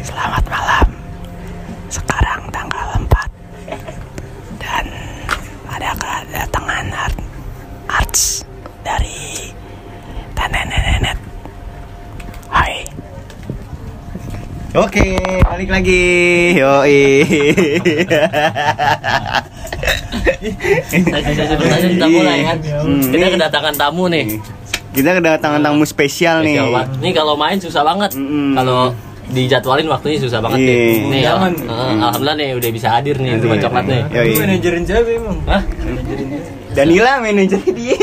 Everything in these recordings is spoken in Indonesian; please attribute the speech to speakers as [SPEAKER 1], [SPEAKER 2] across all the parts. [SPEAKER 1] Selamat malam. Sekarang tanggal 4 dan ada kedatangan art, arts dari Tanenenet. Hai.
[SPEAKER 2] Oke, balik lagi. Yoi.
[SPEAKER 3] Sebenarnya kita mulai kan.
[SPEAKER 2] Hmm,
[SPEAKER 3] Kita
[SPEAKER 2] ini-
[SPEAKER 3] kedatangan tamu nih.
[SPEAKER 2] Kita kedatangan tamu spesial nih.
[SPEAKER 3] Spesial banget. Nih kalau main susah banget.
[SPEAKER 2] Mm-mm.
[SPEAKER 3] Kalau dijadwalin waktunya susah
[SPEAKER 2] Hmm.
[SPEAKER 3] banget
[SPEAKER 2] Iya.
[SPEAKER 3] nih. Nih, al-
[SPEAKER 4] Jangan.
[SPEAKER 3] eh, alhamdulillah nih udah bisa hadir nih di
[SPEAKER 2] Iya.
[SPEAKER 3] coklat nih.
[SPEAKER 2] Yoi.
[SPEAKER 4] Lu manajerin siapa emang?
[SPEAKER 3] Hah?
[SPEAKER 2] Danila manajer dia.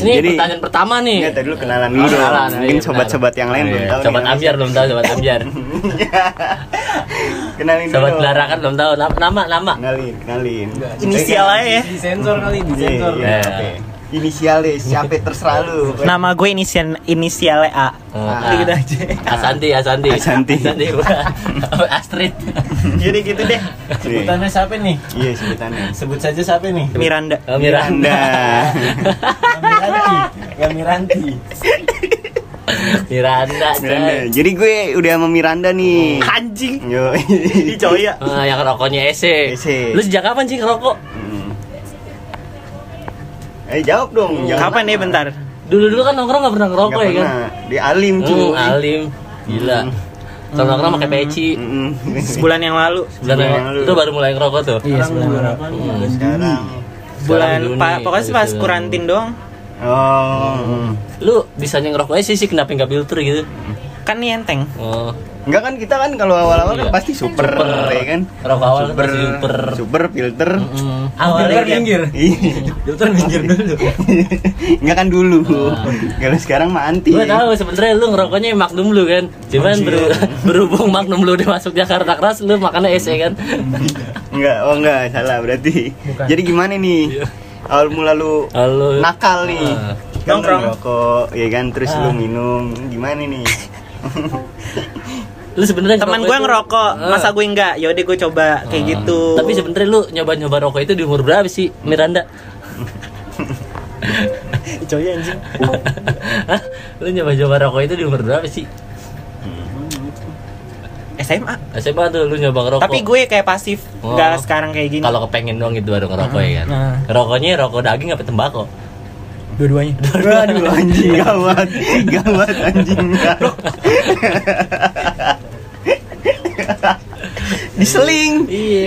[SPEAKER 3] Ini pertanyaan pertama nih.
[SPEAKER 2] Enggak, tadi dulu kenalan dulu
[SPEAKER 3] Oh,
[SPEAKER 2] dong.
[SPEAKER 3] kenalan,
[SPEAKER 2] Mungkin
[SPEAKER 3] iya,
[SPEAKER 2] sobat-sobat yang lain belum tahu.
[SPEAKER 3] Sobat
[SPEAKER 2] nih.
[SPEAKER 3] Ambiar belum tahu sobat Ambiar.
[SPEAKER 2] kenalin dulu.
[SPEAKER 3] Sobat Belarakan belum tahu nama nama. nama.
[SPEAKER 2] Kenalin, kenalin.
[SPEAKER 1] Inisial aja ya.
[SPEAKER 4] Di sensor kali, di
[SPEAKER 2] Iya,
[SPEAKER 4] sensor.
[SPEAKER 2] iya, oke. Inisial deh, siapa terserah lu.
[SPEAKER 1] Nama gue inisial inisialnya A.
[SPEAKER 3] Ah.
[SPEAKER 1] Gitu aja.
[SPEAKER 3] Asanti, Asanti.
[SPEAKER 2] Asanti.
[SPEAKER 3] Asanti. Astrid.
[SPEAKER 1] Jadi gitu deh.
[SPEAKER 2] Nih,
[SPEAKER 4] Sebutannya siapa nih?
[SPEAKER 2] Iya, sebutannya.
[SPEAKER 4] Sebut saja siapa nih?
[SPEAKER 1] Miranda.
[SPEAKER 3] Oh, Miranda.
[SPEAKER 4] Gamiranti. Gamiranti.
[SPEAKER 3] Miranda. coy.
[SPEAKER 2] Miranda. Jadi gue udah sama Miranda nih.
[SPEAKER 1] Anjing. ya.
[SPEAKER 2] Yo.
[SPEAKER 1] Ih, iya. coya.
[SPEAKER 3] Ah, yang rokoknya Ese.
[SPEAKER 2] Ese.
[SPEAKER 3] Lu sejak kapan sih ngerokok?
[SPEAKER 2] Hmm. Eh jawab dong. jawab.
[SPEAKER 1] Oh. Kapan nih bentar?
[SPEAKER 3] Dulu-dulu kan nongkrong gak pernah
[SPEAKER 2] Nggak
[SPEAKER 3] ngerokok ya kan?
[SPEAKER 2] pernah. Di alim cuy. Hmm.
[SPEAKER 3] Hmm, alim. Gila. Kalau nongkrong pakai peci.
[SPEAKER 2] Mm-mm.
[SPEAKER 1] Sebulan yang lalu.
[SPEAKER 3] Bulan
[SPEAKER 2] Sebulan
[SPEAKER 3] yang-
[SPEAKER 2] lalu.
[SPEAKER 3] itu baru mulai ngerokok tuh.
[SPEAKER 4] Iya, sebenarnya.
[SPEAKER 2] Sekarang.
[SPEAKER 1] Bulan
[SPEAKER 3] Juni,
[SPEAKER 1] pa, pokoknya sih
[SPEAKER 3] habis
[SPEAKER 1] pas
[SPEAKER 3] itu.
[SPEAKER 1] kurantin doang.
[SPEAKER 2] Oh.
[SPEAKER 3] gitu. Lu bisanya ngerokok aja sih, sih kenapa nggak filter gitu?
[SPEAKER 1] Kan nih enteng.
[SPEAKER 3] Oh,
[SPEAKER 2] Enggak kan kita kan kalau awal-awal kan
[SPEAKER 3] Iya.
[SPEAKER 2] pasti super,
[SPEAKER 3] Super.
[SPEAKER 2] ya kan?
[SPEAKER 3] Rokok awal kan
[SPEAKER 2] super,
[SPEAKER 3] pasti super.
[SPEAKER 2] super filter.
[SPEAKER 3] hmm.
[SPEAKER 4] Dokter
[SPEAKER 3] Awalnya
[SPEAKER 4] minggir.
[SPEAKER 2] Ih.
[SPEAKER 4] Dokter minggir dulu.
[SPEAKER 2] Enggak Iya. kan dulu. Kalau sekarang mah anti.
[SPEAKER 3] Gue tahu sebenarnya lu ngerokoknya Magnum lu kan. Cuman beru- berhubung Magnum lu udah masuk Jakarta keras, lu makannya Ese kan.
[SPEAKER 2] Enggak, oh enggak salah berarti. Jadi gimana nih? Awal mula lu
[SPEAKER 3] Halo.
[SPEAKER 2] nakal nih.
[SPEAKER 3] Ah.
[SPEAKER 2] Kan lu
[SPEAKER 1] Nongkrong.
[SPEAKER 2] ngerokok, ya kan terus lu minum. Gimana nih?
[SPEAKER 3] Lu sebenarnya
[SPEAKER 1] Temen
[SPEAKER 3] Eh,
[SPEAKER 1] gue
[SPEAKER 3] itu-
[SPEAKER 1] ngerokok,
[SPEAKER 3] Ah.
[SPEAKER 1] masa gue enggak? Yaudah gue coba kayak gitu.
[SPEAKER 3] Tapi sebenarnya lu nyoba-nyoba rokok itu di umur berapa sih, Miranda?
[SPEAKER 1] coy anjing.
[SPEAKER 3] Hah? lu nyoba-nyoba rokok itu di umur berapa sih?
[SPEAKER 1] SMA.
[SPEAKER 3] SMA tuh lu nyoba ngerokok.
[SPEAKER 1] Tapi gue kayak pasif,
[SPEAKER 3] Oh.
[SPEAKER 1] enggak sekarang kayak gini.
[SPEAKER 3] kalau kepengen dong itu baru ngerokok
[SPEAKER 1] Hmm.
[SPEAKER 3] ya kan.
[SPEAKER 4] Nah.
[SPEAKER 3] Rokoknya rokok daging apa tembakau?
[SPEAKER 4] Dua-duanya.
[SPEAKER 2] Waduh anjing gawat. Gawat anjing. Diseling.
[SPEAKER 3] Iya.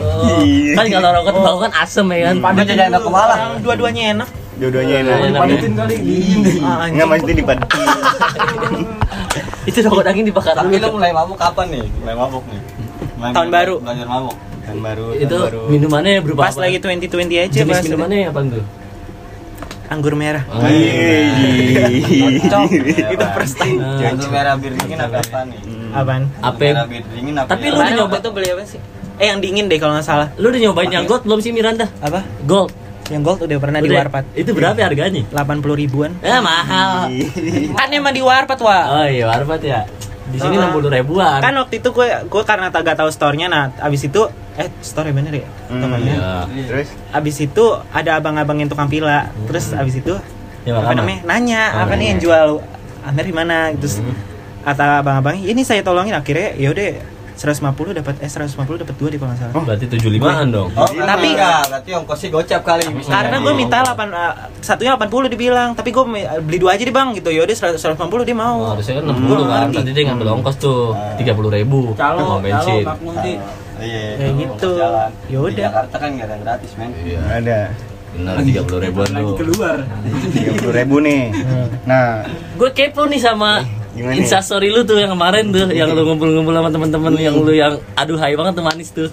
[SPEAKER 3] Oh.
[SPEAKER 2] Iya.
[SPEAKER 3] Kan kalau rokok tembakau kan asem ya
[SPEAKER 1] Hmm.
[SPEAKER 3] kan.
[SPEAKER 4] Padat jadi anak kepala.
[SPEAKER 1] Orang dua-duanya enak.
[SPEAKER 2] Dua-duanya
[SPEAKER 3] Iya,
[SPEAKER 2] enak.
[SPEAKER 3] enak.
[SPEAKER 4] Padetin kali. dingin deh.
[SPEAKER 1] Ah, anjing.
[SPEAKER 2] Enggak maksudnya dipadetin.
[SPEAKER 3] Itu rokok daging dibakar dulu.
[SPEAKER 5] Tapi lu mulai mabuk kapan nih? Mulai mabuk nih. Mulai
[SPEAKER 1] Tahun
[SPEAKER 5] belajar-
[SPEAKER 1] baru.
[SPEAKER 5] Belajar mabuk.
[SPEAKER 2] Tahun baru, tahun
[SPEAKER 3] Itu
[SPEAKER 2] baru.
[SPEAKER 3] minumannya berubah.
[SPEAKER 1] Pas lagi 2020 aja
[SPEAKER 3] jenis
[SPEAKER 1] pas
[SPEAKER 3] minumannya Hmm. apa tuh?
[SPEAKER 1] anggur merah.
[SPEAKER 3] Iya.
[SPEAKER 1] Iya.
[SPEAKER 2] Ih.
[SPEAKER 1] Cok,
[SPEAKER 5] itu
[SPEAKER 1] first time.
[SPEAKER 5] Untuk merah bir dingin apa apa nih?
[SPEAKER 1] Apaan?
[SPEAKER 3] Nah, Apa?
[SPEAKER 5] Merah bir dingin apa?
[SPEAKER 3] Tapi lu
[SPEAKER 5] ya?
[SPEAKER 3] udah
[SPEAKER 1] Kemarin
[SPEAKER 3] nyoba
[SPEAKER 1] waktu itu beli apa sih? Eh yang dingin deh kalau nggak salah.
[SPEAKER 3] Lu udah nyobain yang gold belum sih Miranda?
[SPEAKER 1] Apa?
[SPEAKER 3] Gold.
[SPEAKER 1] Yang gold udah
[SPEAKER 2] Nah,
[SPEAKER 1] pernah di
[SPEAKER 3] Udah.
[SPEAKER 1] Warpat.
[SPEAKER 3] Itu berapa ya harganya?
[SPEAKER 1] 80 ribuan.
[SPEAKER 3] Ya mahal.
[SPEAKER 2] Iya.
[SPEAKER 1] Kan emang di Warpat, Wak.
[SPEAKER 3] Oh iya, Warpat ya. Di
[SPEAKER 2] Oh.
[SPEAKER 3] sini
[SPEAKER 1] Ah.
[SPEAKER 3] enam puluh ribuan.
[SPEAKER 1] Kan waktu itu gue gue karena tak gak tahu store-nya nah abis itu eh store ya bener ya?
[SPEAKER 2] Hmm,
[SPEAKER 1] Tokonya.
[SPEAKER 3] Iya.
[SPEAKER 2] Terus
[SPEAKER 1] Abis itu ada abang-abang yang tukang pila. Terus abis itu
[SPEAKER 3] Ya, makanya.
[SPEAKER 1] apa namanya? Nanya,
[SPEAKER 3] Oh,
[SPEAKER 1] apa nih
[SPEAKER 3] nanya.
[SPEAKER 1] yang jual Amer di mana? Terus kata abang-abang, ini saya tolongin akhirnya ya yaudah 150 dapat eh 150 dapat dua di kalau nggak salah.
[SPEAKER 4] Oh.
[SPEAKER 3] Berarti 75-an dong.
[SPEAKER 5] Oh,
[SPEAKER 1] Tapi-
[SPEAKER 5] tapi enggak, berarti ongkosnya gocap kali bisa.
[SPEAKER 1] Karena gue minta 8 uh, satunya 80 dibilang, tapi gue mi- beli dua aja deh bang gitu. Yaudah 100 180 dia
[SPEAKER 3] Oh,
[SPEAKER 1] mau.
[SPEAKER 3] harusnya kan 60 kan, tadi dia ngambil ongkos tuh 30 ribu
[SPEAKER 4] Calo, calo,
[SPEAKER 3] Uang bensin
[SPEAKER 4] Oh. Pak Munti.
[SPEAKER 5] Iya.
[SPEAKER 1] Kayak gitu.
[SPEAKER 5] Jalan.
[SPEAKER 1] Ya
[SPEAKER 5] Di
[SPEAKER 1] udah.
[SPEAKER 5] Jakarta kan enggak ada gratis, men.
[SPEAKER 2] ada
[SPEAKER 3] Bener, 30 ribuan
[SPEAKER 4] Lagi
[SPEAKER 3] tuh
[SPEAKER 4] keluar.
[SPEAKER 2] tiga puluh ribu nih. Nah,
[SPEAKER 3] Gue kepo nih sama
[SPEAKER 2] Eh, Gimana nih? Iya.
[SPEAKER 3] instastory lu tuh yang kemarin tuh Yang lu ngumpul-ngumpul sama temen-temen yang lu yang aduh hai banget tuh manis tuh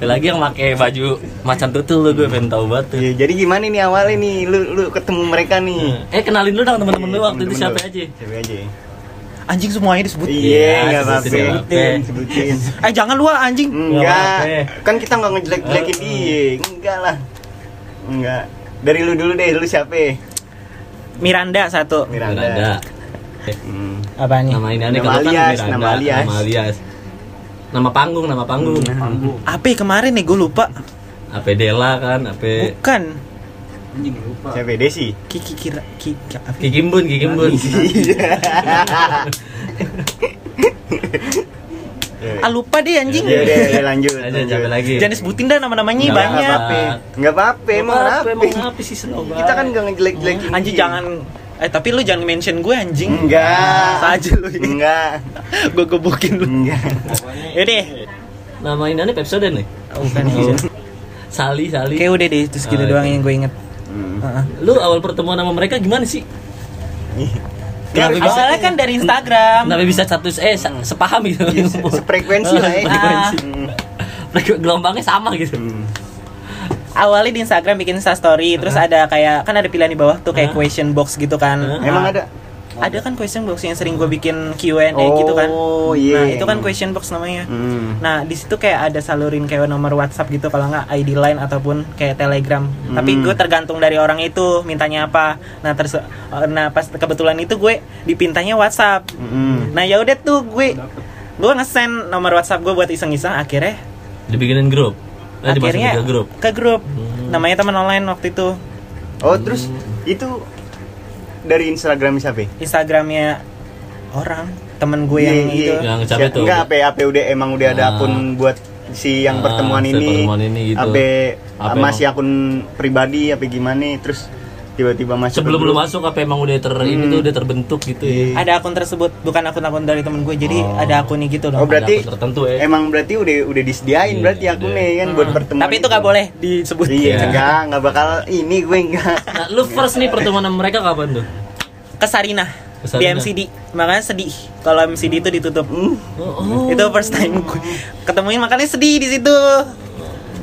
[SPEAKER 3] Lagi yang pakai baju macan tutul lu, gue pengen tau banget tuh
[SPEAKER 2] ya, jadi gimana nih awalnya nih? Lu lu ketemu mereka nih. Iya,
[SPEAKER 3] Eh kenalin lu dong temen-temen lu waktu itu
[SPEAKER 2] Temen-temen
[SPEAKER 3] siapa
[SPEAKER 2] lu.
[SPEAKER 3] aja
[SPEAKER 2] Siapa aja?
[SPEAKER 1] Anjing semuanya disebut.
[SPEAKER 2] Iya, enggak apa-apa.
[SPEAKER 3] sebutin, nggak apa-apa.
[SPEAKER 2] Sebutin, sebutin.
[SPEAKER 1] Eh jangan lu ah, anjing.
[SPEAKER 2] Enggak.
[SPEAKER 3] Nggak apa-apa.
[SPEAKER 2] Kan kita enggak ngejelek-jelekin dia. Enggak lah. Enggak. Dari lu dulu deh, lu siapa?
[SPEAKER 1] Miranda satu.
[SPEAKER 2] Miranda.
[SPEAKER 3] Ada
[SPEAKER 2] Hmm.
[SPEAKER 1] Apa nih?
[SPEAKER 3] Nama ini aneh
[SPEAKER 2] Nama
[SPEAKER 3] kalau kan
[SPEAKER 2] alias,
[SPEAKER 3] Miranda,
[SPEAKER 2] nama alias. Hmm.
[SPEAKER 3] Nama alias Nama panggung, nama panggung
[SPEAKER 1] Apa ya, kemarin nih gue lupa.
[SPEAKER 3] Ape Dela kan, Ape
[SPEAKER 1] Bukan.
[SPEAKER 4] Anjing lupa.
[SPEAKER 2] Siapa? Desi.
[SPEAKER 1] Kiki kira Kiki apa? ya?
[SPEAKER 3] Kikimbun, Kikimbun
[SPEAKER 2] Iya.
[SPEAKER 3] Iya.
[SPEAKER 1] Ah lupa deh anjing.
[SPEAKER 2] Ya udah, ya lanjut.
[SPEAKER 3] Lanjut, capek lagi.
[SPEAKER 1] Jangan disebutin dah nama-namanya
[SPEAKER 3] Nggak
[SPEAKER 1] banyak.
[SPEAKER 3] apa-apa.
[SPEAKER 2] Enggak apa-apa, emang apa?
[SPEAKER 3] apa sih senobat?
[SPEAKER 2] Kita kan enggak ngejelek-jelekin.
[SPEAKER 3] Hmm.
[SPEAKER 1] Anjing jangan eh tapi lu jangan mention gue anjing.
[SPEAKER 2] Enggak.
[SPEAKER 1] Saja lu
[SPEAKER 3] Mm.
[SPEAKER 1] ini.
[SPEAKER 2] Enggak.
[SPEAKER 1] gue gebukin lu. Ya
[SPEAKER 2] Enggak.
[SPEAKER 1] Yaudah.
[SPEAKER 3] nama ini Pepsodent nih.
[SPEAKER 1] Oh, bukan gitu.
[SPEAKER 3] Sali, Sali.
[SPEAKER 1] Oke udah deh, terus gitu
[SPEAKER 3] Oh,
[SPEAKER 1] doang
[SPEAKER 3] iya. Mm.
[SPEAKER 1] yang gue inget.
[SPEAKER 2] Hmm.
[SPEAKER 1] Heeh.
[SPEAKER 3] Lu awal pertemuan sama mereka gimana sih? Kenapa bisa?
[SPEAKER 1] Awalnya kan dari Instagram.
[SPEAKER 3] Kenapa bisa status eh sa- sepaham gitu?
[SPEAKER 2] Iya, se- Sefrekuensi lah ya.
[SPEAKER 3] Sefrekuensi.
[SPEAKER 2] Hmm.
[SPEAKER 3] Mereka Gelombangnya sama gitu.
[SPEAKER 2] Hmm.
[SPEAKER 1] Awalnya di Instagram bikin story, terus ada kayak kan ada pilihan di bawah tuh kayak
[SPEAKER 3] Hah?
[SPEAKER 1] question box gitu kan.
[SPEAKER 3] Hah?
[SPEAKER 2] Emang ada?
[SPEAKER 1] Ada kan question box yang sering gue bikin Q&A gitu kan.
[SPEAKER 2] Oh, iya.
[SPEAKER 1] Nah, itu kan question box namanya.
[SPEAKER 2] Hmm.
[SPEAKER 1] Nah, di situ kayak ada salurin kayak nomor WhatsApp gitu kalau nggak ID line ataupun kayak Telegram. Tapi
[SPEAKER 2] Hmm.
[SPEAKER 1] gue tergantung dari orang itu mintanya apa. Nah, terus nah pas kebetulan itu gue dipintanya WhatsApp.
[SPEAKER 2] Hmm.
[SPEAKER 1] Nah, ya udah tuh gue gue ngesend nomor WhatsApp gue buat iseng-iseng akhirnya
[SPEAKER 3] Dibikinin grup.
[SPEAKER 2] Oh,
[SPEAKER 3] Eh, dimasukin
[SPEAKER 1] akhirnya
[SPEAKER 3] ke grup.
[SPEAKER 1] ke grup.
[SPEAKER 3] Hmm.
[SPEAKER 1] Namanya teman online waktu itu.
[SPEAKER 2] Oh, terus itu dari Instagram siapa? ya?
[SPEAKER 1] Instagramnya orang temen gue yang
[SPEAKER 2] Iya,
[SPEAKER 1] itu.
[SPEAKER 2] iya.
[SPEAKER 3] Yang capek
[SPEAKER 2] Siap-
[SPEAKER 3] tuh.
[SPEAKER 2] Enggak, apa apa udah emang udah ada
[SPEAKER 3] Ah.
[SPEAKER 2] akun buat si yang
[SPEAKER 3] Ah,
[SPEAKER 2] pertemuan
[SPEAKER 3] si
[SPEAKER 2] ini.
[SPEAKER 3] pertemuan ini gitu.
[SPEAKER 2] Apa
[SPEAKER 3] Apa
[SPEAKER 2] masih akun pribadi apa gimana terus tiba-tiba masuk ke
[SPEAKER 3] Sebelum lu
[SPEAKER 2] grup.
[SPEAKER 3] masuk apa emang udah ter ini
[SPEAKER 2] Hmm.
[SPEAKER 3] tuh udah terbentuk gitu ya?
[SPEAKER 2] Iya.
[SPEAKER 1] Ada akun tersebut bukan akun-akun dari temen gue. Jadi
[SPEAKER 3] Oh.
[SPEAKER 1] ada akunnya gitu
[SPEAKER 2] Oh,
[SPEAKER 1] dong.
[SPEAKER 3] Ada
[SPEAKER 2] berarti
[SPEAKER 3] akun tertentu ya.
[SPEAKER 2] Emang berarti udah udah disediain
[SPEAKER 3] Iya,
[SPEAKER 2] berarti
[SPEAKER 3] udah.
[SPEAKER 2] akunnya kan buat pertemuan.
[SPEAKER 1] Tapi itu gak boleh disebut.
[SPEAKER 2] Iya,
[SPEAKER 3] Iya.
[SPEAKER 2] enggak, enggak bakal ini gue enggak.
[SPEAKER 3] Nah, lu first nih pertemuan sama mereka kapan tuh?
[SPEAKER 1] ke Sarinah
[SPEAKER 3] Ke Sarinah.
[SPEAKER 1] di MCD makanya sedih kalau MCD itu ditutup
[SPEAKER 2] Hmm.
[SPEAKER 3] Oh,
[SPEAKER 1] itu first time gue ketemuin makanya sedih di situ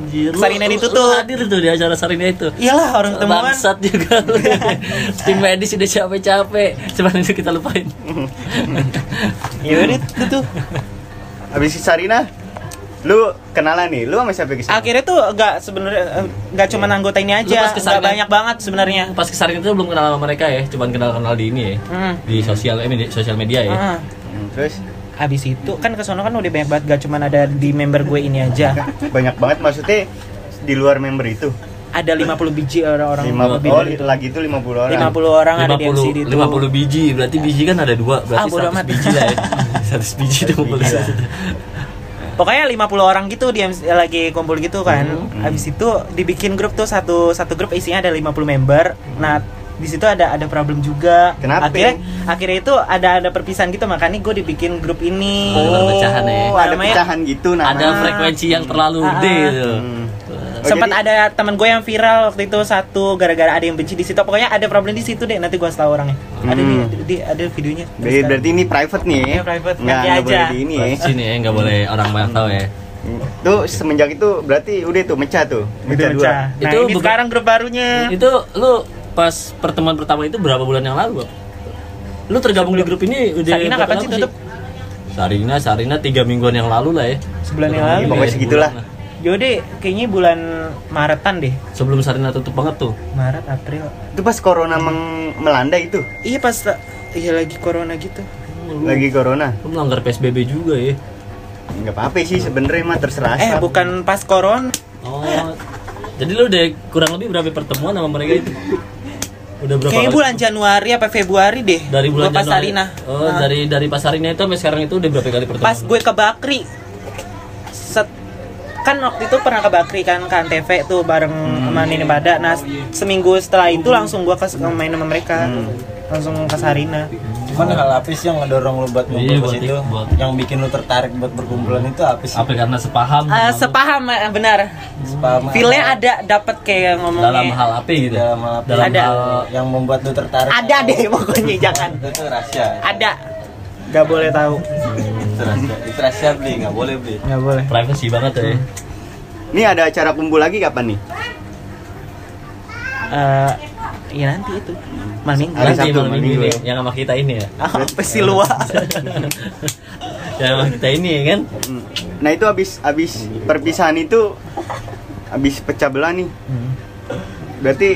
[SPEAKER 3] Anjir, lu-
[SPEAKER 1] Sarina
[SPEAKER 3] lu-
[SPEAKER 1] ditutup.
[SPEAKER 3] lu hadir tuh di acara Sarina itu.
[SPEAKER 1] iyalah orang ketemuan
[SPEAKER 3] Bangsat juga lu. Tim medis udah capek-capek. Cuman itu kita lupain.
[SPEAKER 1] ya udah itu tuh
[SPEAKER 2] Habis si Sarina lu kenalan nih, lu sama siapa kesini?
[SPEAKER 1] akhirnya tuh gak sebenarnya eh, gak cuma anggota ini
[SPEAKER 3] Lu
[SPEAKER 1] aja
[SPEAKER 3] pas ke
[SPEAKER 1] gak
[SPEAKER 3] Sarinah.
[SPEAKER 1] banyak banget sebenarnya
[SPEAKER 3] Pas ke Sarina itu belum kenal sama mereka ya, cuman kenal-kenal di ini ya.
[SPEAKER 1] Hmm.
[SPEAKER 3] Di sosial eh, media, sosial media ya.
[SPEAKER 1] Heeh.
[SPEAKER 2] Hmm, Terus
[SPEAKER 1] abis itu kan ke sono kan udah banyak banget gak cuma ada di member gue ini aja
[SPEAKER 2] banyak banget maksudnya di luar member itu.
[SPEAKER 1] ada 50 biji orang-orang
[SPEAKER 2] Lima,
[SPEAKER 1] lebih
[SPEAKER 2] oh,
[SPEAKER 1] dari itu.
[SPEAKER 2] lagi itu 50 orang.
[SPEAKER 1] 50 orang ada di MCD
[SPEAKER 3] 50,
[SPEAKER 1] itu
[SPEAKER 3] 50 biji, berarti biji kan ada dua, berarti
[SPEAKER 1] Ah, bodo
[SPEAKER 3] 100
[SPEAKER 1] amat. ah.
[SPEAKER 3] biji lah ya 100 biji itu kumpul di situ.
[SPEAKER 1] Pokoknya 50 orang gitu dia lagi kumpul gitu kan.
[SPEAKER 3] Hmm,
[SPEAKER 1] Habis itu dibikin grup tuh satu satu grup isinya ada 50 member.
[SPEAKER 3] Hmm.
[SPEAKER 1] Nah, di situ ada ada problem juga.
[SPEAKER 2] Kenapa?
[SPEAKER 1] Akhirnya akhirnya itu ada ada perpisahan gitu makanya gue dibikin grup ini.
[SPEAKER 3] Oh, perpecahan ya.
[SPEAKER 2] Oh, ada
[SPEAKER 1] Namanya-
[SPEAKER 2] pecahan gitu namanya.
[SPEAKER 3] Ada frekuensi yang terlalu
[SPEAKER 1] Nah. Ah,
[SPEAKER 3] gede
[SPEAKER 1] ah.
[SPEAKER 3] gitu.
[SPEAKER 2] Hmm. Oh,
[SPEAKER 1] Sempat
[SPEAKER 2] jadi-
[SPEAKER 1] ada teman gue yang viral waktu itu satu gara-gara ada yang benci di situ. Pokoknya ada problem di situ deh. Nanti gue tahu orangnya. Ada di,
[SPEAKER 2] Hmm.
[SPEAKER 1] di- ada videonya.
[SPEAKER 2] Jadi berarti ini private nih.
[SPEAKER 1] Iya, private.
[SPEAKER 2] Nggak,
[SPEAKER 1] Nanti
[SPEAKER 2] nggak
[SPEAKER 1] aja.
[SPEAKER 2] boleh di ini ya.
[SPEAKER 3] Di
[SPEAKER 1] Iya.
[SPEAKER 3] sini ya nggak boleh orang banyak tahu ya.
[SPEAKER 1] Hmm.
[SPEAKER 2] Tuh semenjak itu berarti udah tuh mecah tuh.
[SPEAKER 1] Udah
[SPEAKER 2] Mecah dua.
[SPEAKER 1] pecah. Nah,
[SPEAKER 3] Itu
[SPEAKER 1] ini
[SPEAKER 3] bukan-
[SPEAKER 1] sekarang grup barunya.
[SPEAKER 3] Itu lu pas pertemuan pertama itu berapa bulan yang lalu, Bang? Lu tergabung di grup ini udah
[SPEAKER 1] Sarina
[SPEAKER 3] berapa
[SPEAKER 1] kapan
[SPEAKER 3] lama
[SPEAKER 1] sih tutup?
[SPEAKER 3] Sarina, Sarina tiga mingguan yang lalu lah ya.
[SPEAKER 1] Sebulan yang
[SPEAKER 3] Pertemuan
[SPEAKER 1] lalu.
[SPEAKER 3] ya,
[SPEAKER 2] Pokoknya segitulah.
[SPEAKER 3] sebulan lah.
[SPEAKER 1] Yaudah, kayaknya bulan Maretan deh.
[SPEAKER 3] Sebelum Sarina tutup banget tuh.
[SPEAKER 1] Maret, April.
[SPEAKER 2] Itu pas corona meng- melanda itu.
[SPEAKER 1] Iya pas iya lagi corona gitu.
[SPEAKER 3] Lu,
[SPEAKER 2] Lagi corona.
[SPEAKER 3] lu melanggar PSBB juga ya.
[SPEAKER 2] Nggak apa-apa sih sebenarnya mah terserah.
[SPEAKER 1] Eh
[SPEAKER 2] Asap.
[SPEAKER 1] bukan pas corona. Iya.
[SPEAKER 3] Oh. Jadi lu udah kurang lebih berapa pertemuan sama mereka itu? Udah berapa
[SPEAKER 1] Kayaknya
[SPEAKER 3] kali?
[SPEAKER 1] bulan Januari apa Februari deh.
[SPEAKER 3] dari bulan
[SPEAKER 1] gua pas
[SPEAKER 3] Januari.
[SPEAKER 1] Sarina.
[SPEAKER 3] Oh,
[SPEAKER 1] Nah,
[SPEAKER 3] dari dari pasarina itu sampai sekarang itu udah berapa kali pertemuan?
[SPEAKER 1] pas gue ke Bakri. Set- kan waktu itu pernah ke Bakri kan kan TV tuh bareng
[SPEAKER 3] Hmm.
[SPEAKER 1] sama Nini Bada. Nah, seminggu setelah itu langsung gua ke main sama mereka.
[SPEAKER 3] Hmm.
[SPEAKER 1] Langsung ke Sarina.
[SPEAKER 5] Cuman hal apa sih yang ngedorong lu buat
[SPEAKER 3] Iya,
[SPEAKER 5] ngumpul ke
[SPEAKER 3] buat-
[SPEAKER 5] situ?
[SPEAKER 3] buat-
[SPEAKER 5] Yang bikin lu tertarik buat berkumpulan itu apa sih?
[SPEAKER 3] apa karena sepaham
[SPEAKER 1] Eh, sepaham eh, benar.
[SPEAKER 5] Sepaham
[SPEAKER 1] Feel-nya
[SPEAKER 5] apa
[SPEAKER 1] ada dapat kayak ngomongnya.
[SPEAKER 3] dalam hal apa gitu?
[SPEAKER 5] Dalam hal apa?
[SPEAKER 3] Dalam
[SPEAKER 1] iya. Ada.
[SPEAKER 3] hal-
[SPEAKER 5] yang membuat lu tertarik?
[SPEAKER 1] Ada deh pokoknya jangan.
[SPEAKER 5] Itu tuh rahasia.
[SPEAKER 1] Ada. Gak boleh tahu.
[SPEAKER 5] Itu rahasia. Itu rahasia beli, nggak boleh beli.
[SPEAKER 1] Gak boleh.
[SPEAKER 3] privacy banget ya.
[SPEAKER 2] Nih ada acara kumpul lagi kapan nih?
[SPEAKER 1] Eh, ya nanti itu malam minggu Iya,
[SPEAKER 2] Hari
[SPEAKER 3] Nanti
[SPEAKER 2] Sabtu,
[SPEAKER 3] malam
[SPEAKER 2] malam
[SPEAKER 3] minggu
[SPEAKER 2] minggu.
[SPEAKER 3] ya, yang sama kita ini ya.
[SPEAKER 1] apa sih lu Wak?
[SPEAKER 3] yang sama kita ini ya kan.
[SPEAKER 2] Hmm. Nah itu abis abis perpisahan itu abis pecah belah nih. Berarti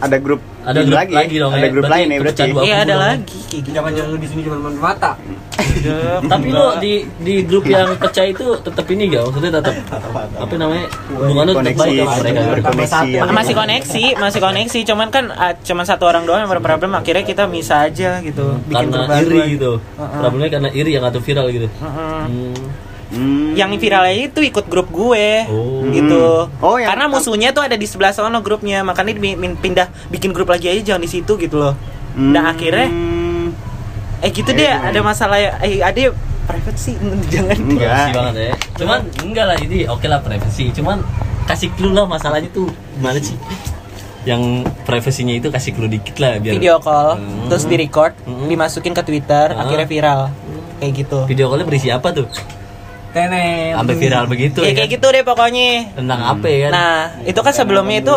[SPEAKER 2] ada grup
[SPEAKER 3] Ada
[SPEAKER 2] Ini
[SPEAKER 3] grup
[SPEAKER 2] lagi,
[SPEAKER 3] lagi, dong
[SPEAKER 2] ada
[SPEAKER 3] ya.
[SPEAKER 2] grup lain ya,
[SPEAKER 3] berpecah
[SPEAKER 2] berarti.
[SPEAKER 3] dua
[SPEAKER 1] Iya
[SPEAKER 3] kubu
[SPEAKER 1] ada
[SPEAKER 3] dong.
[SPEAKER 1] lagi kayak gitu.
[SPEAKER 4] Jangan jangan di sini cuma teman mata.
[SPEAKER 3] Tapi lo di di grup yang pecah itu tetap ini gak? Maksudnya tetap apa namanya? Hubungan lo tetap
[SPEAKER 2] koneksi
[SPEAKER 3] baik sama mereka.
[SPEAKER 2] berkoneksi ya.
[SPEAKER 1] Ma- masih koneksi, masih koneksi, cuman kan ah, cuman satu orang doang yang berproblem akhirnya kita bisa aja gitu, bikin
[SPEAKER 3] Karena
[SPEAKER 1] perbaruan.
[SPEAKER 3] iri gitu.
[SPEAKER 1] Heeh.
[SPEAKER 3] Problemnya karena iri yang atau viral gitu.
[SPEAKER 1] Heeh.
[SPEAKER 3] Hmm.
[SPEAKER 2] Hmm.
[SPEAKER 1] Yang viral aja itu ikut grup gue
[SPEAKER 3] Oh.
[SPEAKER 1] gitu.
[SPEAKER 2] Hmm. Oh, yang-
[SPEAKER 1] Karena musuhnya tuh ada di sebelah sono grupnya, makanya di- min- pindah bikin grup lagi aja jangan di situ gitu loh.
[SPEAKER 2] Hmm.
[SPEAKER 1] Dan akhirnya eh gitu deh ada masalah ya, eh ada private sih
[SPEAKER 3] Mm.
[SPEAKER 1] jangan.
[SPEAKER 2] enggak
[SPEAKER 3] Privacy banget ya. Cuman enggak lah ini oke lah privacy. Cuman kasih clue lah masalahnya tuh gimana sih? Yang privasinya itu kasih clue dikit lah biar
[SPEAKER 1] Video call,
[SPEAKER 3] Hmm.
[SPEAKER 1] terus di record,
[SPEAKER 3] Hmm.
[SPEAKER 1] dimasukin ke Twitter,
[SPEAKER 3] Ah.
[SPEAKER 1] akhirnya viral. Kayak gitu.
[SPEAKER 3] Video callnya berisi apa tuh?
[SPEAKER 4] Tenem.
[SPEAKER 3] Sampai viral begitu
[SPEAKER 1] Ya
[SPEAKER 3] ya.
[SPEAKER 1] kayak
[SPEAKER 3] kan?
[SPEAKER 1] gitu deh pokoknya.
[SPEAKER 3] Tentang apa ya kan?
[SPEAKER 1] Nah, itu kan sebelumnya itu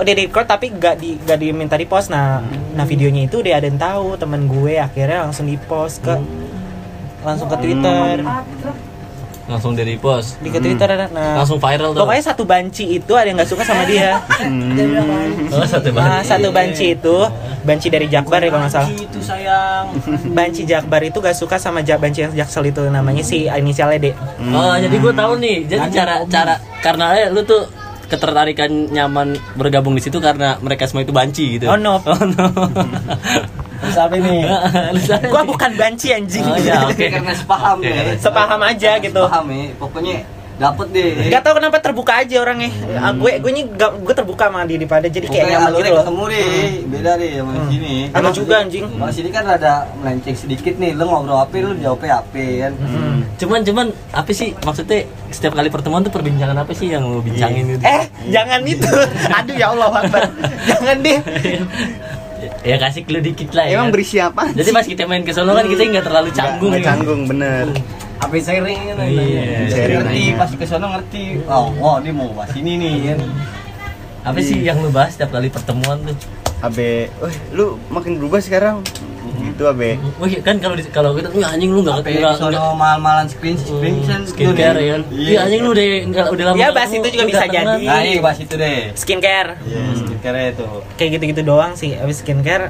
[SPEAKER 1] udah di record tapi gak di gak diminta di post. Nah,
[SPEAKER 3] Hmm.
[SPEAKER 1] nah videonya itu udah ada yang tahu temen gue akhirnya langsung di post ke
[SPEAKER 3] Hmm.
[SPEAKER 1] langsung ke Twitter,
[SPEAKER 3] Langsung dari post.
[SPEAKER 1] di ke Twitter. Nah,
[SPEAKER 3] Langsung viral tuh. Hmm.
[SPEAKER 1] pokoknya satu banci itu ada yang nggak suka sama dia.
[SPEAKER 3] Oh, satu
[SPEAKER 1] Nah,
[SPEAKER 3] banget.
[SPEAKER 1] satu banci itu banci dari Jakbar ya kalau nggak salah.
[SPEAKER 4] Itu sayang.
[SPEAKER 1] Banci Jakbar itu gak suka sama Ja- banci yang Jaksel itu namanya si inisialnya D.
[SPEAKER 3] Oh, jadi gue tahu nih. Jadi cara cara karena eh, lu tuh ketertarikan nyaman bergabung di situ karena mereka semua itu banci gitu.
[SPEAKER 1] Oh no,
[SPEAKER 3] Oh no.
[SPEAKER 5] Terus apa ini?
[SPEAKER 1] gua bukan banci anjing.
[SPEAKER 3] Oh ya,
[SPEAKER 5] iya,
[SPEAKER 3] oke.
[SPEAKER 4] Karena sepaham
[SPEAKER 3] Oke,
[SPEAKER 4] ya.
[SPEAKER 1] Sepaham aja gitu.
[SPEAKER 4] Paham ya. Pokoknya dapet deh.
[SPEAKER 1] Gak tau kenapa terbuka aja orangnya. Ah, gue gue nih gak- gue terbuka sama dia daripada jadi kayak
[SPEAKER 4] Pokoknya
[SPEAKER 1] nyaman
[SPEAKER 4] alurnya
[SPEAKER 1] gitu loh.
[SPEAKER 4] ketemu deh.
[SPEAKER 5] Beda deh sama di sini.
[SPEAKER 1] Sama juga anjing.
[SPEAKER 4] Kalau sini kan rada melenceng sedikit nih, lu ngobrol apa, lu jawabnya apa kan.
[SPEAKER 3] Cuman cuman apa sih maksudnya setiap kali pertemuan tuh perbincangan apa sih yang lu bincangin gitu?
[SPEAKER 1] Eh, jangan itu. Aduh ya Allah Akbar. jangan deh.
[SPEAKER 3] ya kasih clue dikit lah ya.
[SPEAKER 2] emang
[SPEAKER 3] kan?
[SPEAKER 2] berisi apa
[SPEAKER 3] Jadi pas kita main ke Solo kan kita nggak terlalu canggung.
[SPEAKER 2] Nggak
[SPEAKER 3] ya.
[SPEAKER 2] canggung bener
[SPEAKER 4] Apa sharing kan.
[SPEAKER 3] Iya,
[SPEAKER 2] sharing
[SPEAKER 4] Ngerti,
[SPEAKER 2] aja.
[SPEAKER 4] pas ke sana ngerti.
[SPEAKER 5] Oh, oh, ini mau bahas ini nih kan.
[SPEAKER 3] Apa sih
[SPEAKER 1] Iya.
[SPEAKER 3] yang lu bahas setiap kali pertemuan tuh?
[SPEAKER 2] abe wah lu makin berubah sekarang
[SPEAKER 3] Hmm.
[SPEAKER 2] gitu abe
[SPEAKER 3] Wih kan kalau di- kalau kita "Wih, anjing lu nggak
[SPEAKER 4] Apa
[SPEAKER 5] ya,
[SPEAKER 4] yang
[SPEAKER 3] nggak- nggak-
[SPEAKER 4] sono mahal-mahalan screen screen
[SPEAKER 3] Hmm,
[SPEAKER 4] kan
[SPEAKER 3] skincare ya kan?
[SPEAKER 5] Iya.
[SPEAKER 3] Iya anjing lu udah nggak udah lama.
[SPEAKER 1] Ya,
[SPEAKER 3] nggak
[SPEAKER 1] bahas
[SPEAKER 3] ketemu,
[SPEAKER 1] itu juga
[SPEAKER 3] lu
[SPEAKER 1] bisa
[SPEAKER 3] datangan.
[SPEAKER 1] jadi.
[SPEAKER 5] Nah, ini
[SPEAKER 4] iya,
[SPEAKER 5] bahas itu deh.
[SPEAKER 1] Skincare.
[SPEAKER 5] Iya, skincare itu.
[SPEAKER 1] Kayak gitu-gitu doang sih. Abis skincare,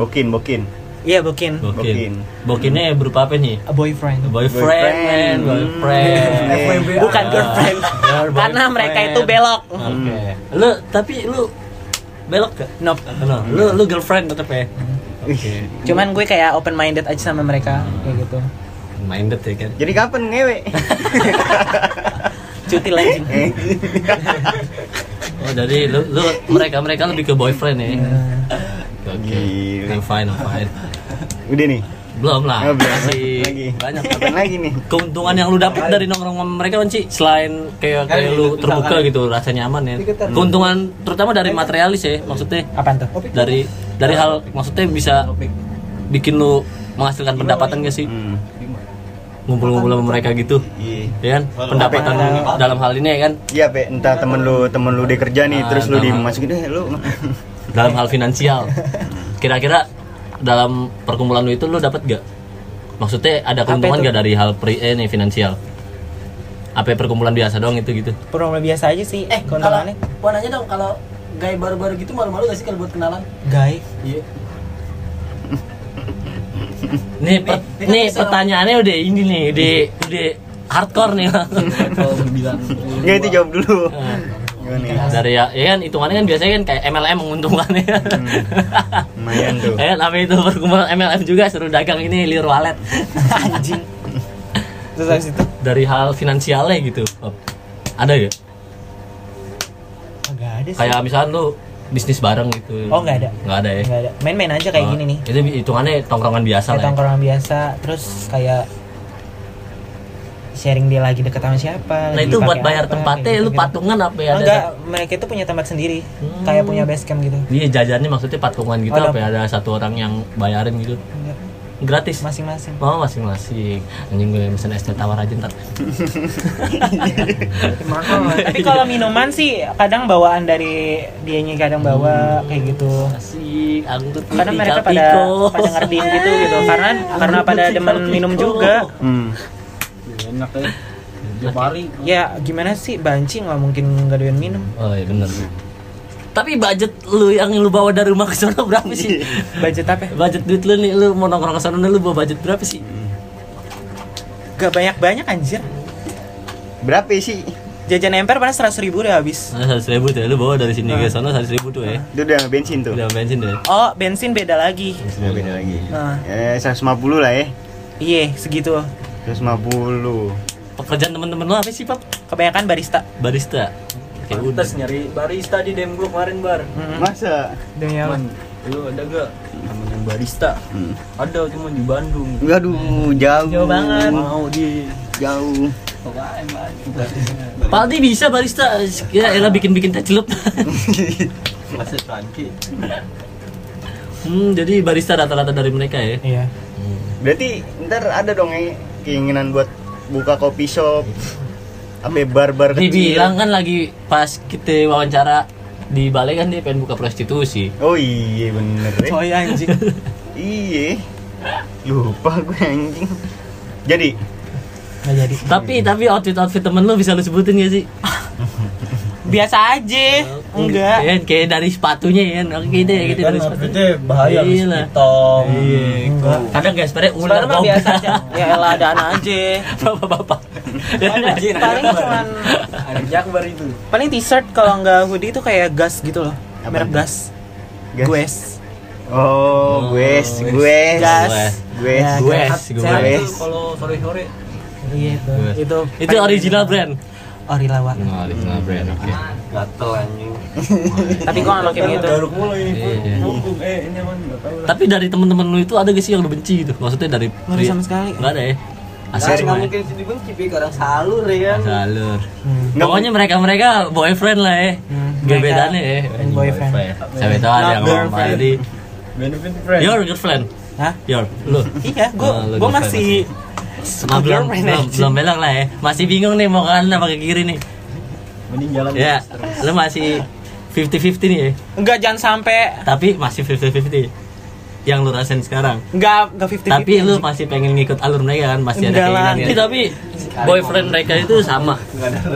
[SPEAKER 2] bokin bokin
[SPEAKER 1] iya bukin.
[SPEAKER 3] Bokin. Bokinnya berupa apa nih?
[SPEAKER 1] A boyfriend.
[SPEAKER 3] Boyfriend,
[SPEAKER 2] Boyfriend.
[SPEAKER 3] man, boyfriend.
[SPEAKER 2] Hmm.
[SPEAKER 3] Boyfriend.
[SPEAKER 1] Bukan
[SPEAKER 3] Ah,
[SPEAKER 1] girlfriend.
[SPEAKER 3] girl
[SPEAKER 1] Karena
[SPEAKER 3] boyfriend. Ah.
[SPEAKER 1] mereka itu belok.
[SPEAKER 3] Oke. Hmm. Lu tapi lu belok gak?
[SPEAKER 1] Nope.
[SPEAKER 3] Nah, lu lu girlfriend tetep ya.
[SPEAKER 1] Cuman gue kayak open minded aja sama mereka kayak gitu.
[SPEAKER 3] Minded ya kan.
[SPEAKER 2] jadi kapan ngewe Eh,
[SPEAKER 1] Cuti lah, anjing.
[SPEAKER 3] Oh, jadi lu lu mereka mereka lebih ke boyfriend ya. Oke.
[SPEAKER 2] Gila.
[SPEAKER 3] I'm fine, I'm fine.
[SPEAKER 2] udah nih
[SPEAKER 3] Belum lah.
[SPEAKER 2] Oh, belum.
[SPEAKER 3] Masih
[SPEAKER 2] Lagi.
[SPEAKER 3] Ah, banyak
[SPEAKER 2] kapan lagi nih
[SPEAKER 3] keuntungan yang lu dapat dari nongkrong sama mereka kan Ci? selain
[SPEAKER 1] Kan
[SPEAKER 3] kayak kayak lu terbuka gitu rasa nyaman ya keuntungan terutama dari materialis ya maksudnya
[SPEAKER 1] Apaan tuh?
[SPEAKER 3] dari dari hal maksudnya bisa bikin lu menghasilkan pendapatan gak sih
[SPEAKER 2] hmm.
[SPEAKER 3] ngumpul-ngumpul sama mereka gitu
[SPEAKER 2] iya
[SPEAKER 3] ya kan pendapatan dalam hal ini ya kan
[SPEAKER 2] Iya, Pe. entah temen lu temen lu di kerja nih,
[SPEAKER 3] Ah,
[SPEAKER 2] terus lu
[SPEAKER 3] nah.
[SPEAKER 2] dimasukin eh lu.
[SPEAKER 3] dalam hal finansial kira-kira dalam perkumpulan lu itu lu dapat gak maksudnya ada
[SPEAKER 1] Apa
[SPEAKER 3] keuntungan
[SPEAKER 1] itu?
[SPEAKER 3] gak dari hal pri eh, nih finansial apa perkumpulan biasa doang itu gitu
[SPEAKER 1] Promo biasa aja sih.
[SPEAKER 5] Eh, kalau
[SPEAKER 1] keuntungannya.
[SPEAKER 5] mau nanya dong kalau gay baru-baru gitu malu-malu gak sih kalau buat kenalan?
[SPEAKER 1] Guys,
[SPEAKER 5] Iya.
[SPEAKER 3] Nih, per-
[SPEAKER 5] Nih,
[SPEAKER 3] nih
[SPEAKER 5] bisa.
[SPEAKER 3] pertanyaannya udah ini nih, udah udah hardcore nih. Bang.
[SPEAKER 5] Kalau bilang
[SPEAKER 2] Enggak itu jawab dulu. Gimana nih?
[SPEAKER 3] Dari ya, ya kan hitungannya kan biasanya kan kayak MLM menguntungkannya.
[SPEAKER 2] Lumayan tuh.
[SPEAKER 3] Ya kan, apa itu perkumpulan MLM juga seru dagang ini lir walet.
[SPEAKER 1] anjing. Terus habis itu
[SPEAKER 3] Dari hal finansialnya gitu. Bob. Ada ya?
[SPEAKER 1] Enggak ada sih.
[SPEAKER 3] Kayak misalnya lu bisnis bareng gitu.
[SPEAKER 1] Oh, nggak ada.
[SPEAKER 3] Nggak ada ya.
[SPEAKER 1] Nggak ada. Main-main aja kayak
[SPEAKER 3] Oh,
[SPEAKER 1] gini nih.
[SPEAKER 3] Itu hitungannya tongkrongan biasa
[SPEAKER 1] Kayak
[SPEAKER 3] lah. ya.
[SPEAKER 1] tongkrongan biasa, terus kayak sharing dia lagi deket sama siapa.
[SPEAKER 3] Nah,
[SPEAKER 1] lagi
[SPEAKER 3] itu buat
[SPEAKER 1] pakai
[SPEAKER 3] bayar
[SPEAKER 1] apa,
[SPEAKER 3] tempatnya
[SPEAKER 1] kayak
[SPEAKER 3] lu
[SPEAKER 1] gitu-gitu.
[SPEAKER 3] patungan apa ya? Hmm.
[SPEAKER 1] Oh,
[SPEAKER 3] Ada-
[SPEAKER 1] enggak, mereka itu punya tempat sendiri, kayak punya base camp gitu.
[SPEAKER 3] Iya jajannya maksudnya patungan gitu
[SPEAKER 1] Ada.
[SPEAKER 3] apa ya? ada satu orang yang bayarin gitu
[SPEAKER 1] Enggak,
[SPEAKER 3] gratis
[SPEAKER 1] Masing-masing.
[SPEAKER 3] mau masing-masing anjing gue mesen es teh tawar aja ntar Oh, iya.
[SPEAKER 1] Tapi kalau minuman sih kadang bawaan dari dianya kadang
[SPEAKER 3] Hmm.
[SPEAKER 1] bawa kayak gitu.
[SPEAKER 3] asik angkut
[SPEAKER 1] Kadang mereka pada pada ngertiin gitu gitu karena karena pada demen minum juga.
[SPEAKER 2] Hmm.
[SPEAKER 4] Enak ya. Dia paling
[SPEAKER 1] Ya gimana sih banci nggak mungkin nggak doyan minum.
[SPEAKER 3] oh iya bener Tapi budget lu yang lu bawa dari rumah ke sana berapa sih?
[SPEAKER 1] budget apa ya?
[SPEAKER 3] budget duit lu nih lu mau nongkrong ke sana nih, lu bawa budget berapa sih?
[SPEAKER 1] gak banyak banyak anjir
[SPEAKER 2] Berapa sih?
[SPEAKER 1] jajan emper pernah seratus ribu udah habis
[SPEAKER 3] Nah, 100 ribu tuh, lu bawa dari sini ke sana 100 ribu tuh
[SPEAKER 1] Ah.
[SPEAKER 3] ya
[SPEAKER 2] Itu udah bensin tuh.
[SPEAKER 3] Ah. Udah bensin deh
[SPEAKER 1] oh bensin beda lagi
[SPEAKER 2] Sudah beda lagi.
[SPEAKER 1] Ah.
[SPEAKER 2] Eh, 150 lah ya.
[SPEAKER 1] iya segitu
[SPEAKER 2] 150.
[SPEAKER 3] Pekerjaan temen-temen lu apa sih, Pap?
[SPEAKER 1] kebanyakan barista
[SPEAKER 3] Barista Kayak udah
[SPEAKER 5] Pantes nyari barista di DM gua kemarin bar.
[SPEAKER 1] Hmm.
[SPEAKER 2] Masa?
[SPEAKER 1] demi apa?
[SPEAKER 5] Man, lu ada gak temen yang barista?
[SPEAKER 2] Hmm.
[SPEAKER 5] Ada cuma di Bandung.
[SPEAKER 2] Waduh, jauh.
[SPEAKER 1] Jauh banget.
[SPEAKER 5] Mau di
[SPEAKER 2] Jauh.
[SPEAKER 3] Paldi bisa barista Ya elah bikin-bikin teh celup
[SPEAKER 5] Masih Frankie.
[SPEAKER 3] Hmm, jadi barista rata-rata dari mereka ya
[SPEAKER 1] iya
[SPEAKER 2] Berarti ntar ada dong yang keinginan buat buka kopi shop. Sampai bar-bar kecil.
[SPEAKER 3] Dibilang kan lagi pas kita wawancara di balai kan dia pengen buka prostitusi
[SPEAKER 2] Oh iya bener ya.
[SPEAKER 1] coy anjing
[SPEAKER 2] Iya. Lupa gue anjing. Jadi,
[SPEAKER 1] Gak jadi
[SPEAKER 3] Tapi tapi outfit-outfit temen lu bisa lu sebutin gak sih?
[SPEAKER 1] biasa aja enggak
[SPEAKER 3] Ya, kayak dari sepatunya ya Oke gitu ya gitu dari sepatunya
[SPEAKER 5] Iya, bahaya
[SPEAKER 3] Iya lah.
[SPEAKER 5] hitam. Iya.
[SPEAKER 3] Kadang guys, sebenarnya ular
[SPEAKER 1] Sebenarnya mah biasa aja ya elah ada anak aja
[SPEAKER 3] Iya, Bapak-bapak Iya,
[SPEAKER 1] Paling- paling cuman
[SPEAKER 5] Ada Jakbar itu.
[SPEAKER 1] paling t-shirt kalau nggak hoodie itu kayak gas gitu loh
[SPEAKER 2] Apa
[SPEAKER 1] merek
[SPEAKER 2] itu?
[SPEAKER 1] gas
[SPEAKER 2] Gas?
[SPEAKER 1] Gues
[SPEAKER 2] oh, gue gue
[SPEAKER 1] Gas
[SPEAKER 2] gue
[SPEAKER 1] Ya,
[SPEAKER 3] Gues,
[SPEAKER 1] sehat-
[SPEAKER 3] Gues.
[SPEAKER 1] sehat.
[SPEAKER 2] Gues.
[SPEAKER 5] Itu kalau sore-sore
[SPEAKER 1] Iya itu. Itu Oh,
[SPEAKER 3] Itu original brand Nah.
[SPEAKER 1] Orilawa.
[SPEAKER 3] original brand, oke
[SPEAKER 4] Gatel anjing.
[SPEAKER 1] Tapi gua nggak pakai gitu.
[SPEAKER 5] garuk mulu ini.
[SPEAKER 3] Iya.
[SPEAKER 5] Hukum eh ini emang enggak tahu lah.
[SPEAKER 3] Tapi dari temen-temen lu itu ada gak sih yang lu benci gitu? Maksudnya dari
[SPEAKER 1] Nggak ada sama sekali.
[SPEAKER 3] Gak ada ya? Asal
[SPEAKER 4] Nah,
[SPEAKER 3] semua
[SPEAKER 4] nggak
[SPEAKER 3] ya?
[SPEAKER 4] mungkin sih dibenci, Bi. Orang salur ya kan.
[SPEAKER 3] Salur
[SPEAKER 2] Nggak
[SPEAKER 3] Pokoknya mereka-mereka boyfriend lah ya
[SPEAKER 1] Hmm,
[SPEAKER 3] Gebetannya ya
[SPEAKER 1] mereka boyfriend.
[SPEAKER 3] Sampai tau ada
[SPEAKER 1] Not
[SPEAKER 3] yang ngomong
[SPEAKER 1] girlfriend.
[SPEAKER 3] Jadi
[SPEAKER 5] Benefit friend.
[SPEAKER 3] Your girlfriend
[SPEAKER 1] Hah?
[SPEAKER 3] Your, lu
[SPEAKER 1] Iya,
[SPEAKER 3] Oh,
[SPEAKER 1] gua
[SPEAKER 3] lu
[SPEAKER 1] gua
[SPEAKER 3] girlfriend
[SPEAKER 1] masih
[SPEAKER 3] Nah, belum,
[SPEAKER 1] girlfriend
[SPEAKER 3] belum,
[SPEAKER 1] aja.
[SPEAKER 3] belum belok lah ya Masih bingung nih mau ke kanan apa ke kiri nih
[SPEAKER 5] Mending jalan
[SPEAKER 3] Ya, lu masih 50-50 nih ya
[SPEAKER 1] Enggak jangan sampai
[SPEAKER 3] Tapi masih 50-50 Yang lu rasain sekarang
[SPEAKER 1] enggak enggak 50
[SPEAKER 3] tapi lu masih pengen ngikut alur mereka kan masih
[SPEAKER 1] Iya. Enggak
[SPEAKER 3] ada
[SPEAKER 1] lah.
[SPEAKER 3] keinginan ya. tapi boyfriend mereka itu sama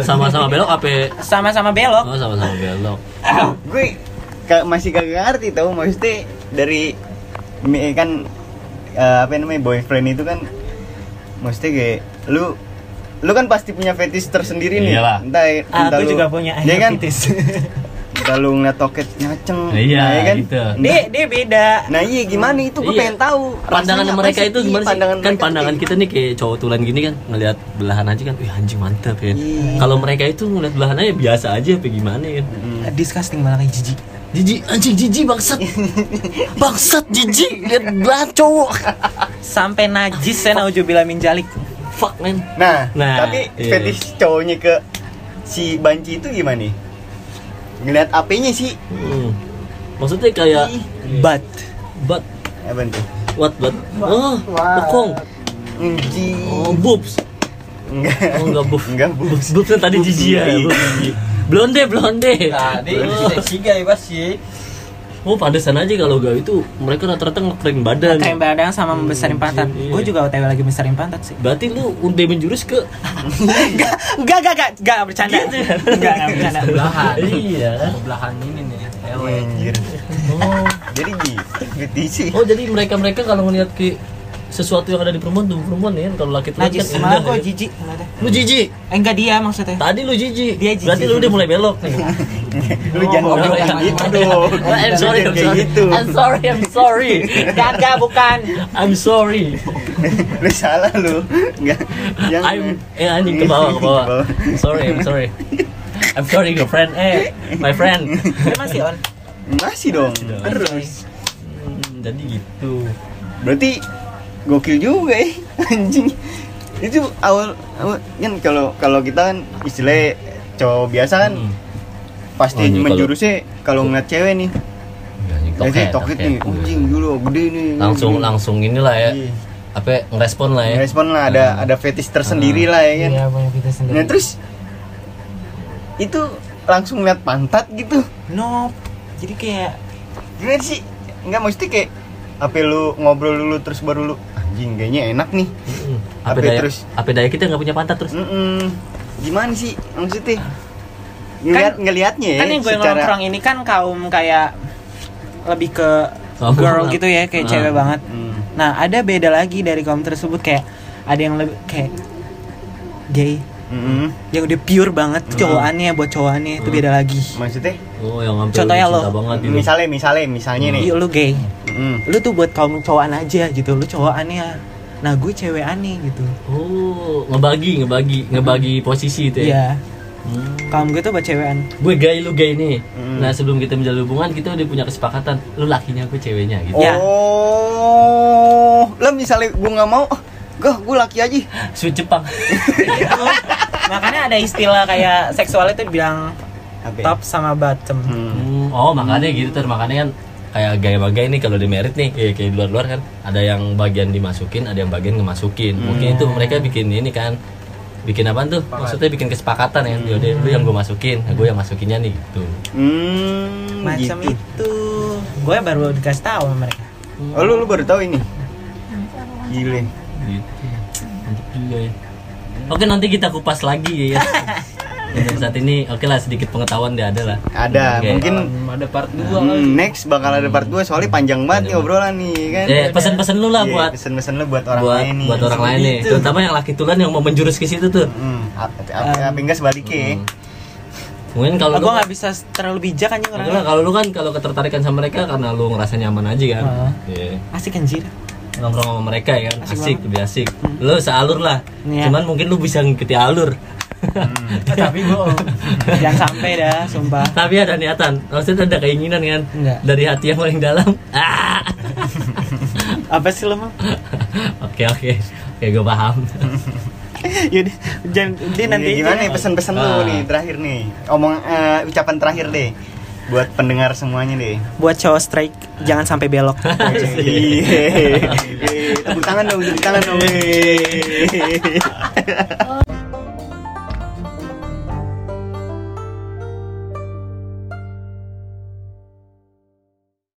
[SPEAKER 3] sama-sama belok apa
[SPEAKER 1] sama-sama belok.
[SPEAKER 3] oh sama-sama belok
[SPEAKER 2] gue ka- masih kagak ngerti tau maksudnya dari mi- kan eh, apa namanya boyfriend itu kan maksudnya kayak lu lu kan pasti punya fetish tersendiri nih
[SPEAKER 3] Iyalah.
[SPEAKER 2] entah,
[SPEAKER 1] Ah,
[SPEAKER 2] entah
[SPEAKER 1] Aku juga punya
[SPEAKER 2] ya kan?
[SPEAKER 1] fetish.
[SPEAKER 2] entah lu ngeliat toket nyaceng
[SPEAKER 3] Iya,
[SPEAKER 2] ya kan?
[SPEAKER 3] gitu.
[SPEAKER 2] Nah,
[SPEAKER 1] Dia dia beda.
[SPEAKER 2] nah iya gimana itu gue
[SPEAKER 3] Iya.
[SPEAKER 2] pengen tahu
[SPEAKER 3] pandangan
[SPEAKER 2] Rasanya apa
[SPEAKER 3] mereka
[SPEAKER 2] sih?
[SPEAKER 3] itu
[SPEAKER 2] Iya,
[SPEAKER 3] gimana sih
[SPEAKER 2] pandangan
[SPEAKER 3] kan
[SPEAKER 2] mereka
[SPEAKER 3] pandangan
[SPEAKER 2] tuh
[SPEAKER 3] kita nih kayak cowok tulen gini kan ngelihat belahan aja kan wih anjing mantap ya
[SPEAKER 2] Iya.
[SPEAKER 3] kalau mereka itu ngelihat belahannya biasa aja apa gimana ya
[SPEAKER 1] Hmm. Disgusting malah kayak jijik.
[SPEAKER 3] jijik anjing jijik bangsat bangsat jijik lihat belahan cowok
[SPEAKER 1] Sampai najis saya naujubillah min jalik.
[SPEAKER 3] fuck man
[SPEAKER 2] nah,
[SPEAKER 3] Nah,
[SPEAKER 2] tapi
[SPEAKER 3] iya.
[SPEAKER 2] fetish cowoknya ke si banci itu gimana nih ngeliat apenya sih
[SPEAKER 3] Hmm. maksudnya kayak
[SPEAKER 2] Ih,
[SPEAKER 1] But
[SPEAKER 3] but
[SPEAKER 2] apa tuh
[SPEAKER 3] what but oh bokong
[SPEAKER 2] Nji.
[SPEAKER 3] oh boobs
[SPEAKER 2] Enggak.
[SPEAKER 3] Oh enggak buf.
[SPEAKER 2] Enggak, buf.
[SPEAKER 3] Buf, buf kan tadi jijik ya.
[SPEAKER 2] Iya.
[SPEAKER 3] buf. Blonde blonde.
[SPEAKER 5] Tadi ya, seksi guys pasti.
[SPEAKER 3] Oh pantesan aja kalau gak itu mereka rata-rata ngekering badan.
[SPEAKER 1] kayak badan sama membesarin pantat.
[SPEAKER 3] jijik, iya.
[SPEAKER 1] Gue juga OTW lagi besarin pantat sih.
[SPEAKER 3] Berarti lu udah menjurus ke
[SPEAKER 1] Enggak, enggak, enggak, enggak, enggak bercanda.
[SPEAKER 3] Gitu.
[SPEAKER 1] Enggak, enggak bercanda.
[SPEAKER 5] Belahan.
[SPEAKER 3] iya.
[SPEAKER 5] Belahan ini nih. Ewe.
[SPEAKER 2] Anjir.
[SPEAKER 3] Oh.
[SPEAKER 2] Jadi gitu fetish sih.
[SPEAKER 3] oh jadi mereka mereka kalau ngeliat ke sesuatu yang ada di perempuan tuh perempuan ya kalau laki tulen
[SPEAKER 1] Najis,
[SPEAKER 3] kan
[SPEAKER 1] malah
[SPEAKER 3] indah
[SPEAKER 1] gue
[SPEAKER 3] ya.
[SPEAKER 1] jijik. ngeliatnya.
[SPEAKER 3] Lu jijik.
[SPEAKER 1] Eh, enggak dia maksudnya.
[SPEAKER 3] Tadi lu jijik.
[SPEAKER 1] Dia jijik.
[SPEAKER 3] Berarti lu udah mulai belok nih.
[SPEAKER 2] Lu jangan
[SPEAKER 3] Oh,
[SPEAKER 2] ngomong
[SPEAKER 3] iya.
[SPEAKER 2] kayak gitu dong. Jangan
[SPEAKER 3] I'm sorry, I'm
[SPEAKER 2] kayak
[SPEAKER 3] sorry.
[SPEAKER 2] gitu.
[SPEAKER 3] I'm sorry, I'm sorry.
[SPEAKER 1] Enggak, enggak, bukan.
[SPEAKER 3] I'm sorry.
[SPEAKER 2] Lu salah lu. Enggak. Jangan.
[SPEAKER 3] I'm eh anjing ke bawah ke bawah.
[SPEAKER 2] Ke bawah.
[SPEAKER 3] I'm sorry, I'm sorry. I'm sorry girlfriend. Eh, my friend.
[SPEAKER 1] Dia masih on.
[SPEAKER 2] Masih dong.
[SPEAKER 3] dong.
[SPEAKER 2] Terus.
[SPEAKER 3] Hmm, jadi gitu.
[SPEAKER 2] Berarti gokil juga ya anjing. Itu awal, awal kan kalau kalau kita kan istilahnya cowok biasa kan
[SPEAKER 3] Hmm.
[SPEAKER 2] pasti
[SPEAKER 3] Oh, ini kalau-
[SPEAKER 2] menjurusnya kalau ngeliat cewek nih.
[SPEAKER 3] Iya,
[SPEAKER 2] Jadi toket nih, anjing dulu gede nih.
[SPEAKER 3] Langsung langsung inilah ya.
[SPEAKER 2] Iya.
[SPEAKER 3] Apa ngerespon lah ya.
[SPEAKER 2] Respon lah ada ada fetish
[SPEAKER 3] Hmm.
[SPEAKER 2] tersendiri lah ya kan.
[SPEAKER 1] Iya, punya kita sendiri.
[SPEAKER 2] Nah terus itu langsung lihat pantat gitu.
[SPEAKER 1] No. Jadi kayak
[SPEAKER 2] Gimana sih? Enggak mesti kayak apa lu ngobrol dulu terus baru lu anjing kayaknya enak nih.
[SPEAKER 3] Hmm. Apa
[SPEAKER 2] Apa
[SPEAKER 3] daya
[SPEAKER 2] terus?
[SPEAKER 3] apa daya kita nggak punya pantat terus.
[SPEAKER 2] Mm-mm. Gimana sih maksudnya? ngeliat ngelihatnya ya
[SPEAKER 1] kan yang gue
[SPEAKER 2] secara
[SPEAKER 1] nongkrong ini kan kaum kayak lebih ke
[SPEAKER 3] Kaum
[SPEAKER 1] girl
[SPEAKER 3] apa?
[SPEAKER 1] gitu ya kayak
[SPEAKER 3] Ah.
[SPEAKER 1] cewek banget
[SPEAKER 2] Hmm.
[SPEAKER 1] nah ada beda lagi dari kaum tersebut kayak ada yang lebih kayak gay
[SPEAKER 2] Mm-mm.
[SPEAKER 1] yang udah pure banget
[SPEAKER 2] Hmm.
[SPEAKER 1] cowokannya buat cowokannya itu beda lagi
[SPEAKER 2] maksudnya
[SPEAKER 3] Oh, yang hampir
[SPEAKER 1] Contohnya
[SPEAKER 3] cinta
[SPEAKER 1] lo.
[SPEAKER 3] banget ini.
[SPEAKER 2] misalnya misalnya misalnya nih
[SPEAKER 1] Iya lu gay
[SPEAKER 2] Mm.
[SPEAKER 1] lu tuh buat kaum cowokan aja gitu lu cowokannya nah gue cewek aneh gitu
[SPEAKER 3] Oh, ngebagi, ngebagi, ngebagi
[SPEAKER 2] Hmm.
[SPEAKER 3] posisi itu ya.
[SPEAKER 1] iya
[SPEAKER 3] Hmm.
[SPEAKER 1] kaum gue tuh buat cewekan
[SPEAKER 3] Gue gay, lu gay nih.
[SPEAKER 2] Hmm.
[SPEAKER 3] Nah, sebelum kita menjalin hubungan, kita udah punya kesepakatan. Lu lakinya, aku ceweknya gitu.
[SPEAKER 1] Ya.
[SPEAKER 2] oh lah misalnya gue nggak mau ah, gah gue laki aja
[SPEAKER 3] Sweet Jepang.
[SPEAKER 1] makanya ada istilah kayak seksual itu bilang
[SPEAKER 2] Apa ya?
[SPEAKER 1] top sama bottom
[SPEAKER 2] Hmm.
[SPEAKER 3] Hmm, Oh, makanya gitu ter makanya kan kayak gay sama gay nih kalau di merit nih ya kayak di luar-luar kan ada yang bagian dimasukin, ada yang bagian ngemasukin.
[SPEAKER 2] Hmm.
[SPEAKER 3] Mungkin itu mereka bikin ini kan bikin apa tuh? Maksudnya bikin kesepakatan ya. Yaudah, lu yang gue masukin, gue yang masukinnya nih gitu.
[SPEAKER 2] Hmm,
[SPEAKER 1] macam
[SPEAKER 2] gitu.
[SPEAKER 1] itu gue baru dikasih tahu sama mereka
[SPEAKER 2] Oh, lu, lu baru tahu ini? Gile.
[SPEAKER 3] Gitu. Mantep juga ya. Oke nanti kita kupas lagi ya. Untuk saat ini oke lah sedikit pengetahuan dia ada lah.
[SPEAKER 2] Ada,
[SPEAKER 3] Oke.
[SPEAKER 2] mungkin
[SPEAKER 5] ada part 2
[SPEAKER 2] hmm, next bakal ada part 2 soalnya panjang banget nih obrolan nih kan.
[SPEAKER 3] Ya pesan-pesan lu lah
[SPEAKER 2] Iya,
[SPEAKER 3] buat
[SPEAKER 2] pesen-pesen lu buat orang
[SPEAKER 3] buat
[SPEAKER 2] lain nih. gitu.
[SPEAKER 3] buat orang lain nih, terutama yang laki tulen yang mau menjurus ke situ tuh.
[SPEAKER 2] Hmm, apa apa enggak sebaliknya.
[SPEAKER 3] Mungkin kalau
[SPEAKER 1] gue
[SPEAKER 3] lu-
[SPEAKER 1] nggak bisa terlalu bijak anjing
[SPEAKER 3] Enggak lah,
[SPEAKER 1] orangnya
[SPEAKER 3] kalau lu kan kalau ketertarikan sama mereka karena lu ngerasa nyaman aja kan.
[SPEAKER 1] Heeh.
[SPEAKER 3] Iya.
[SPEAKER 1] asik anjir
[SPEAKER 3] Nongkrong sama mereka ya kan.
[SPEAKER 1] Ah. Asik Hmm.
[SPEAKER 3] Asik, lebih asik. Lu sealur lah.
[SPEAKER 1] Iya. Hmm.
[SPEAKER 3] Cuman mungkin lu bisa ngikuti alur.
[SPEAKER 5] tapi bohong
[SPEAKER 1] jangan sampai dah sumpah
[SPEAKER 3] Tapi ada niatan. Maksudnya ada keinginan kan
[SPEAKER 1] Enggak.
[SPEAKER 3] dari hati yang paling dalam. Ah.
[SPEAKER 1] apa sih lo mau
[SPEAKER 3] Oke, oke. Oke, gue paham.
[SPEAKER 1] Hmm. yaudah jangan dia nanti
[SPEAKER 2] Iya, gimana nih pesan-pesan lu
[SPEAKER 3] Ah.
[SPEAKER 2] nih terakhir nih? Omong eh, ucapan terakhir deh buat pendengar semuanya deh.
[SPEAKER 1] buat cowok strike jangan sampai belok
[SPEAKER 2] Iya. Tepuk tangan dong, tepuk tangan dong. Yeay.